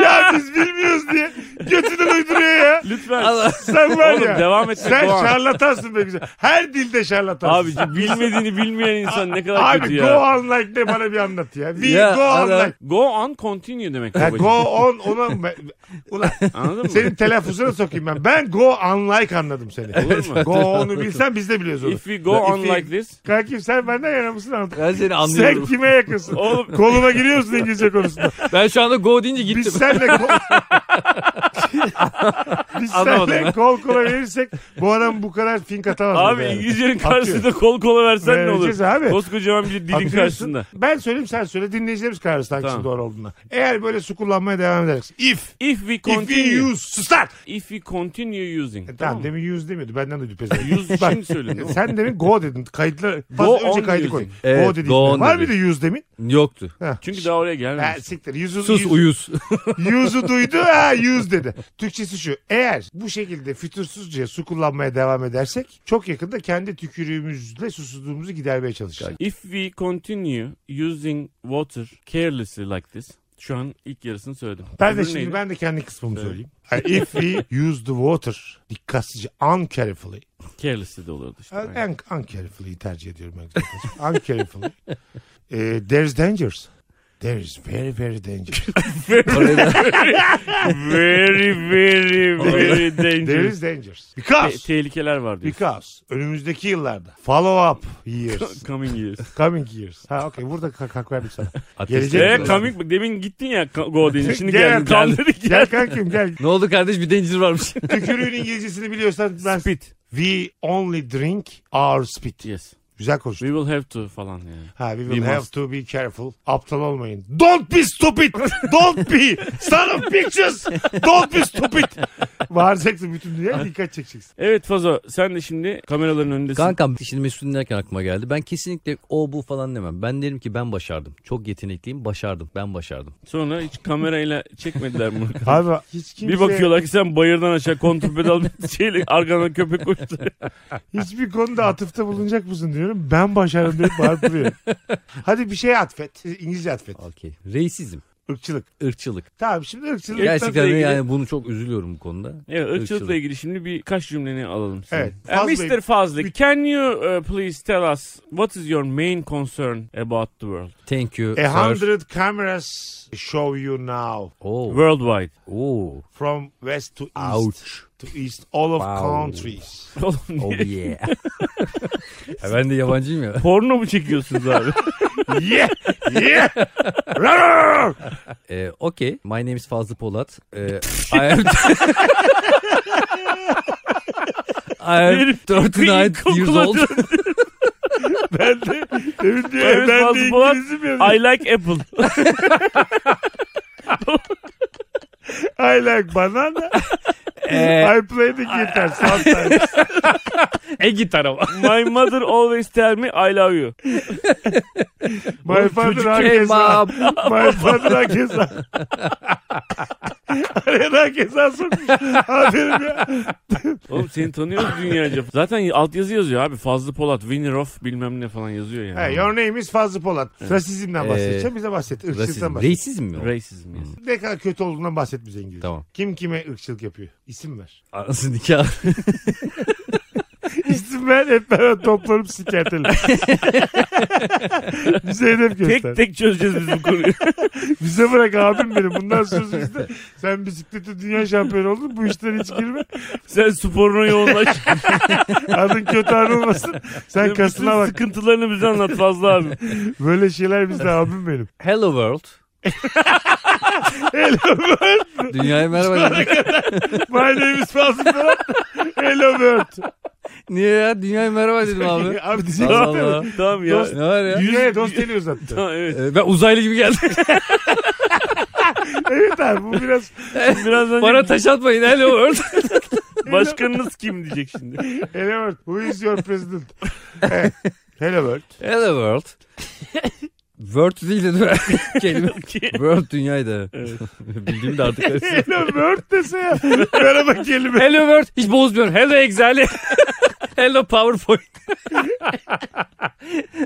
ya biz bilmiyoruz diye götünden uyduruyor ya. Lütfen. Sen var Oğlum ya. devam etmek Sen go on. şarlatansın be güzel. Her dilde şarlatansın. Abici bilmediğini bilmeyen insan ne kadar [laughs] Abi kötü go ya. on like de bana bir anlat ya. We Ya, go on adam- like. Go on continue demek. Ya babacığım. go on ona ulan Anladın mı? senin telaffuzuna sokayım ben. Ben go on like anladım seni. Olur mu? Go on'u bilsen biz de biliyoruz onu. If we go on If we- like this. Kankim sen benden yana mısın anlat. Ben seni Sen anlıyorum. kime yakınsın? Oğlum. Koluma giriyorsun İngilizce [laughs] konusunda. Ben şu anda go deyince gittim. Biz senle kol... Biz Anlamadım senle ben. kol kola verirsek bu adam bu kadar fink atamaz. Abi yani. İngilizcenin karşısında kol kola versen ne olur? Vereceğiz abi. Koskocaman bir dilin Atıyorsun. karşısında. Ben söyleyeyim sen söyle dinleyicilerimiz karar versin hangisinin Tamam. doğru olduğuna. Eğer böyle su kullanmaya devam edersek. If, If we if we continue. use, start. If we continue using. E, tamam, tamam mı? demin use demiyordu benden de düpez. Use Bak, şimdi söyledim. e, sen demin go dedin. Kayıtlar Go go on önce kaydı using. koy. Evet, go dedin. go on Var dedi. mıydı use demin? Yoktu. Çünkü daha oraya Ha, gelmemiş. siktir. Use'u, Sus use- [laughs] [laughs] uyuz. Use'u duydu ha use dedi. Türkçesi şu. Eğer bu şekilde fütursuzca su kullanmaya devam edersek çok yakında kendi tükürüğümüzle susuzluğumuzu gidermeye çalışacağız. If we continue using water carelessly like this. Şu an ilk yarısını söyledim. Ben de Öbürü şimdi neydi? ben de kendi kısmımı Evet. söyleyeyim. Yani If we use the water dikkatsizce uncarefully. Carelessly de olurdu işte. Aynen. Un, uncarefully tercih ediyorum ben. güzel kardeşim. [laughs] uncarefully. Eh, there's dangers. There is very very dangerous. very [laughs] very very There dangerous. is dangers. Te- Because tehlikeler var diyor. because önümüzdeki yıllarda follow up years. Coming years. [laughs] coming years. Ha okey burada kak, hak verdim sana. Gelecek Ee, yıllarda. coming demin gittin ya ka- go deyince [laughs] şimdi Gel, geldin. gel. Tam dedik ya. Gel kankim gel. ne oldu kardeş bir danger varmış. Tükürüğün İngilizcesini biliyorsan ben... Spit. We only drink our spit. Yes. Güzel konuştun. We will have to falan yani. Ha, we will We have must. to be careful. Aptal olmayın. Don't be stupid. Don't be. Son of pictures. Don't be stupid. Bağıracaksın bütün dünyaya dikkat çekeceksin. Evet Fazo sen de şimdi kameraların önündesin. [laughs] Kankam şimdi Mesut'un derken aklıma geldi. Ben kesinlikle o bu falan demem. Ben derim ki ben başardım. Çok yetenekliyim başardım. Ben başardım. Sonra hiç kamerayla çekmediler bunu. Abi hiç kimse Bir bakıyorlar ki sen bayırdan aşağı kontur pedal bir şeyle arkadan köpek koştu. hiçbir konuda atıfta bulunacak mısın diyorum. Ben başardım diye bağırıp duruyor. Hadi bir şey atfet. İngilizce atfet. Okey. Reisizm. Irkçılık. ırkçılık. Tamam şimdi ırkçılık. Gerçekten ilgili- yani bunu çok üzülüyorum bu konuda. Evet ırkçılıkla Irkçılık. ilgili şimdi birkaç cümleni alalım. Seni. Evet, Eh, Fazlı Bey- Mr. Fazlı can you uh, please tell us what is your main concern about the world? Thank E, you. A sir. hundred cameras show you now. Oo. Worldwide. [laughs] Oo. From west to east. Ouch. To east. All of Wow. countries. Oğlum niye- [laughs] [laughs] Oh yeah. Ha, ben de yabancıyım ya. Porno mu çekiyorsunuz [laughs] abi? yeah. Yeah. Rar! Ee, Okey. My name is Fazlı Polat. Ee, [laughs] I am... I am Herif 39 years old. kokuladı. Ben de demin diyor ya, Evet, ben Fazlı de Polat, İngilizim ya. I like apple. [laughs] I like banana. [laughs] Ee, I play the guitar sometimes. [laughs] e gitar ama. My mother always tell me I love you. My father Hey hakeza. mom. [laughs] [laughs] My father hakeza. [laughs] Araya da hakeza sokmuş. Aferin ya. Oğlum seni tanıyoruz dünyaca. Zaten altyazı yazıyor abi. Fazlı Polat, winner of bilmem ne falan yazıyor [laughs] yani. Hey, your name is Fazlı Polat. Rasizmden Ee, bahsedeceğim. Bize bahset. Irkçılıktan Rasizm. bahset. Reisizm mi o? Racism yes. Ne kadar kötü olduğundan bahset bize İngilizce. Tamam. Kim kime ırkçılık yapıyor? İsim ver. Arası nikah. İsim ver hep beraber toplanıp [laughs] sikertelim. bize hedef göster. Tek tek çözeceğiz biz bu konuyu. Bize bırak abim benim. Bundan sonra bizde sen bisiklete dünya şampiyonu oldun. Bu işlere hiç girme. [laughs] Sen sporuna yoğunlaş. Adın kötü anılmasın. Sen kasına Bütün bak. Sıkıntılarını bize anlat Fazlı [laughs] abi. Böyle şeyler bizde abim benim. Hello world. Dünyaya merhaba. [laughs] My name is Fazıl Polat. Hello world. Niye ya? Dünyaya merhaba dedim [laughs] abi. abi diyecek Allah zaten. Allah. Tamam ya. Ne var ya? Dünyaya dost geliyoruz zaten. Tamam [laughs] evet. Ee, Ben uzaylı gibi geldim. [laughs] [laughs] evet abi bu biraz Birazdan Bana taş atmayın. Hello world. başkanınız kim diyecek [laughs] şimdi. Hello World. Who is your president? Evet. Hello World. Hello world. World değil de [laughs] kelime. World dünyaydı. Evet. [laughs] Bildiğim de artık. karıştı. Hello World dese ya. Merhaba kelime. [laughs] Hello World hiç bozmuyorum. Hello Excel. [laughs] Hello PowerPoint.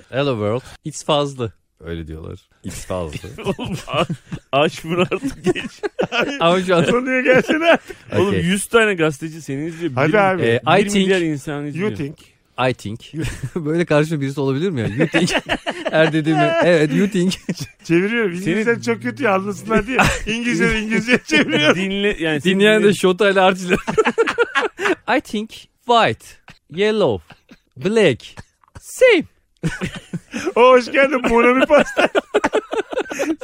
Hello world. It's fazla. Öyle diyorlar. X fazla. Oğlum a- aç bunu artık geç. [laughs] Ama Ee, şu an Konuya gelsene artık. Oğlum Okay. 100 tane gazeteci seni izliyor. Hadi Bir- abi. bir Ee, I think- milyar insan izliyor. you think. I think. [laughs] Böyle karşıma birisi olabilir mi ya? You [laughs] think. Her dediğimi. Evet you think. Çeviriyorum. İngilizcen çok kötü ya anlasınlar [laughs] diye. İngilizce İngilizce çeviriyorum. Dinle, yani seni Dinleyen de dinleyen- şota ile harcıyla. [laughs] I think white, yellow, black. Same. O hoş geldin. Bonami [laughs] pastel.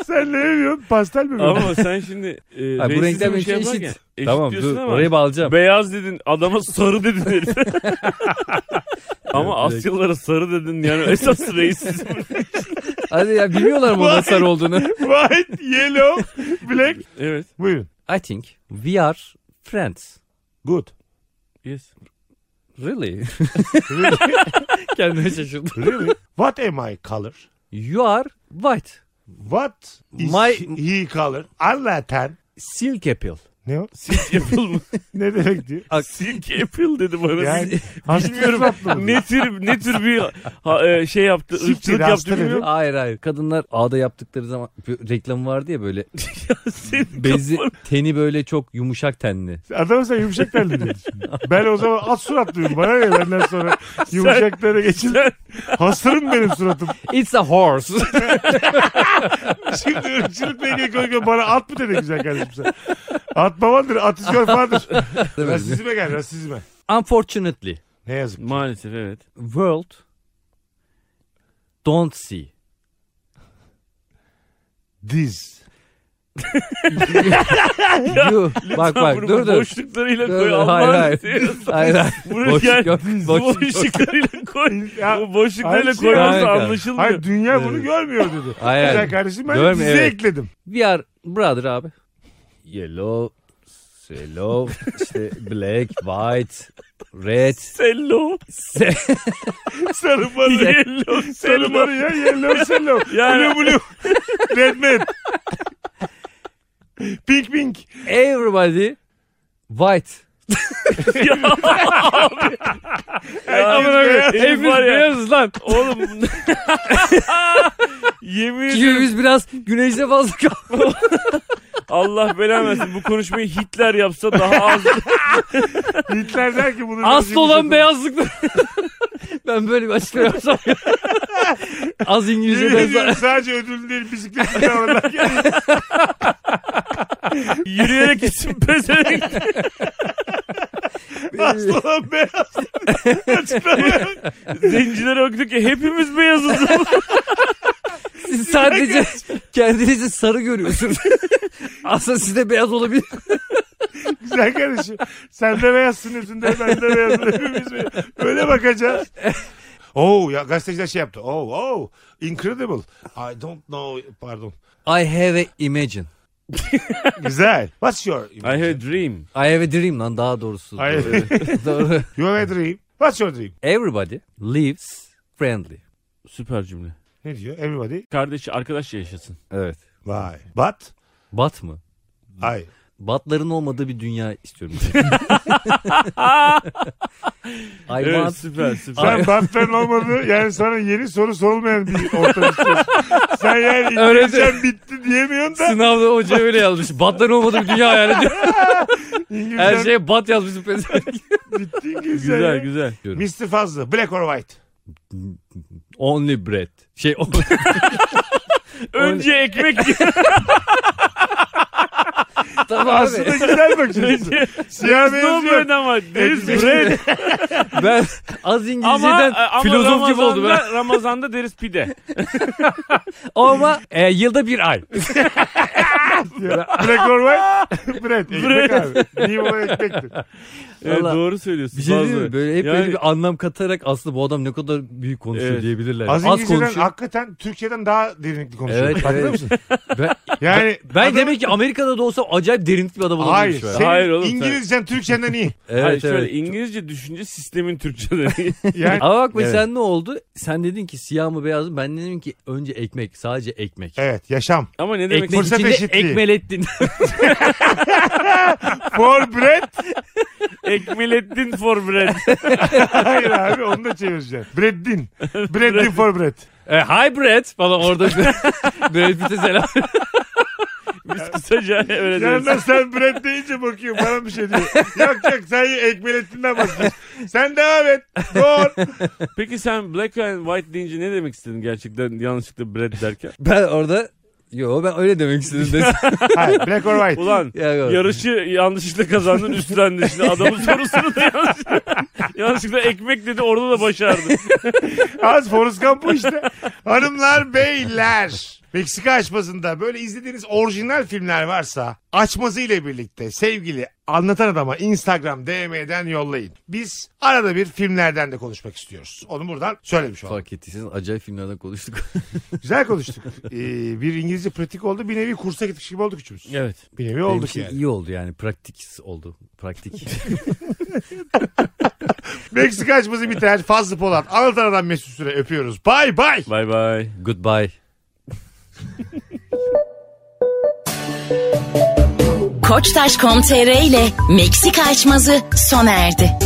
Sen ne yiyorsun? Pastel mi? bu? Ama sen şimdi e, Ay, bu racist renkler bir benim şey için yaparken eşit. Tamam diyorsun dur ama oraya bağlayacağım. Beyaz dedin adama sarı dedin herif. [laughs] Ama Asyalılara sarı dedin yani [laughs] esas reisizm. Hadi ya bilmiyorlar mı onun sarı olduğunu. White, yellow, black. evet. Buyurun. I think we are friends. Good. Yes. Really? [laughs] Kendime şaşırdım. Really? What am I color? You are white. What is My- he, he color? Anlatan. Silk apple. Ne o? Silk Apple [laughs] mı? Ne demek diyor? Silk Apple dedi bana. [laughs] Yani [laughs] Bilmiyorum ne tür ne tür bir ha, e, şey yaptı, Siktir, ırkçılık yaptı hasta bilmiyorum. Hayır hayır. Kadınlar ağda yaptıkları zaman bir reklamı vardı ya böyle Senin [laughs] bezi kafanı- teni böyle çok yumuşak tenli. Adam sen yumuşak terli diyorsun. Ben o zaman at suratlıyım. Bana ne benden sonra yumuşaklara geçin. Sen- Hasırım benim suratım. It's a horse. Şimdi ırkçılık belgeyi koyuyor. Bana at mı dedi güzel kardeşim sen? At babandır, at izgör [laughs] fadır. [laughs] Rasizme gel, rasizme. Unfortunately, Ne yazık. Maalesef evet. world [laughs] don't see. Diz. You bak bak Bunu dur dur. Boşluklarıyla Dur, koy. dur, Allah'ını hayır, seversen. [laughs] Hayır hayır. Bunu Boşluk yani- yok, bu boşluk yok. boşluklarıyla koy. Ya, Bu boşluklarıyla hayır, koymazsa hayır. anlaşılmıyor. Hayır dünya bunu görmüyor dedi. [laughs] Hayır, Güzel hayır. kardeşim ben de Görmüyor, dizi evet. ekledim. We are brother abi. Yellow, yellow, işte black, white, red. Sello. [laughs] Sarı barı, yellow, sarı barı ya, yellow, sellow. Yani- Blue, blue. [laughs] Red, red. Pink, pink. Everybody white. Herkes beyaz. Herif var ya. beyazız lan. Oğlum. Yemin ediyorum Çünkü biz biraz güneşte fazla kaldık. Allah belanı versin bu konuşmayı Hitler yapsa daha az. Hitler der ki bunu... Aslı olan beyaz. beyazlıklı. ben böyle bir açıklama yapsam. Az İngilizce Yemin ben ediyorum sadece ödül değil bisikletli [laughs] davranlar geldi. Yürüyerek isim pezevenk. Aslı olan beyaz. [laughs] Açıklamaya bak. Zencilere baktı ki hepimiz beyazız. Siz sadece kendinizi [laughs] sarı görüyorsunuz. Aslında sizde beyaz olabilir. Güzel kardeşim. Sen de beyazsın üstünde ben de beyazım. Hepimiz beyaz. Öyle bakacağız. Oh ya gazeteciler şey yaptı. Oh oh incredible. I don't know pardon. I have a imagine. Güzel. What's your [laughs] I had a dream. I have a dream lan daha doğrusu. I- Doğru. [laughs] you have a dream. What's your dream? Everybody lives friendly. Süper cümle. Ne diyor? Everybody. Kardeşi arkadaşça yaşasın. Evet. Vay. But Bat mı? I. Batların olmadığı bir dünya istiyorum. I Evet [laughs] want süper süper. [laughs] Sen bantların olmadı. Yani sana yeni soru sorulmayan bir ortam istiyorsun. Sen yani Öyle İngilizcen bitti diyemiyorsun da. Sınavda hoca öyle yazmış. Battan olmadığı bir dünya hayal [laughs] ediyor. İngilizcen Her şeye bat [laughs] yazmış. bitti İngilizcen. şey- Güzel ya. güzel. Mr. Fazlı. Black or white. only bread. Şey [laughs] o- Önce ekmek [laughs] tamam Abi aslında güzel bak şimdi. [laughs] Siyah No benziyor. bread ama deriz [laughs] Evet, bread. Ben az Ama, e, İngilizceden ama filozof Ramazan'da, gibi oldu [laughs] ben. Ramazan'da deriz pide. Ama e, yılda bir ay. Black or white? [laughs] Bread. Ekmek abi. Niye buna ekmektir? Evet, Vallahi- doğru söylüyorsun. Bir şey değil mi? Bazıları. Böyle hep Yani- böyle bir anlam katarak aslında bu adam ne kadar büyük konuşuyor Evet. diyebilirler. Az, Az, İngilizceden konuşuyor. hakikaten Türkiye'den daha derinlikli konuşuyor. Evet, Farkında evet. mısın? Ben, Yani ben adam- demek ki Amerika'da da olsam acayip derinlikli bir adam olurmuş Hayır. ben. Senin Hayır oğlum, sen- İngilizcen Türkçenden iyi. Evet, Hayır, şöyle evet. İngilizce düşünce sistemin [laughs] Türkçe'de. Yani Ama bak be Evet. sen ne oldu? Sen dedin ki siyah mı beyaz mı? Ben dedim ki önce ekmek sadece ekmek. evet yaşam. ama ne demek? Ekmek Fırsat içinde eşitliği. ekmelettin. For bread. [laughs] Ekmelettin for [laughs] bread. Hayır abi onu da çevireceğim. Breddin. Breddin for bread. [laughs] e, hybrid falan orada. [laughs] Brad Pitt'e selam. Biz kısaca öyle deriz. Yanına sen bread deyince bakıyor bana bir şey diyor. yok yok sen ekmelettinden bahsediyorsun. Sen devam et. [laughs] Doğru. Peki sen black and white deyince ne demek istedin gerçekten yanlışlıkla bread derken? Ben orada Yo ben öyle demek [laughs] istedim dedim. Hayır black or white. Ulan Ya- yarışı yanlışlıkla kazandın üstlendin. Şimdi adamın sorusunu da yanlışlıkla, [laughs] yanlışlıkla ekmek dedi orada da başardın. Az Forrest Gump bu işte. Hanımlar beyler. Meksika açmasında böyle izlediğiniz orijinal filmler varsa açması ile birlikte sevgili anlatan adama Instagram DM'den yollayın. Biz arada bir filmlerden de konuşmak istiyoruz. Onu buradan söylemiş olalım. Fark ettiyseniz acayip filmlerden konuştuk. Güzel konuştuk. Ee, bir İngilizce pratik oldu. Bir nevi kursa gitmiş gibi olduk üçümüz. Evet. Bir nevi Benim olduk için yani. iyi oldu yani praktik oldu. Praktik. Meksika açması biter. Fazlı Polat. Anlatan adam Mesut Süre. Öpüyoruz. Bay bay. Bay bay. Goodbye. Koçtaş.com.tr ile Meksika açmazı sona erdi.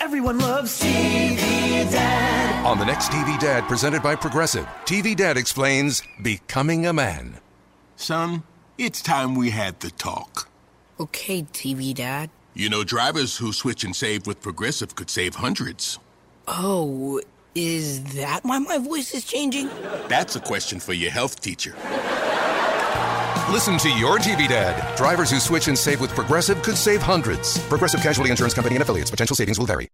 Everyone loves TV Dad. On the next TV Dad presented by Progressive, TV Dad explains becoming a man. Son, it's time we had the talk. Okay, TV Dad. You know, drivers who switch and save with Progressive could save hundreds. Oh, is that why my voice is changing? That's a question for your health teacher. Listen to your TV Dad. Drivers who switch and save with Progressive could save hundreds. Progressive Casualty Insurance Company and affiliates. Potential savings will vary.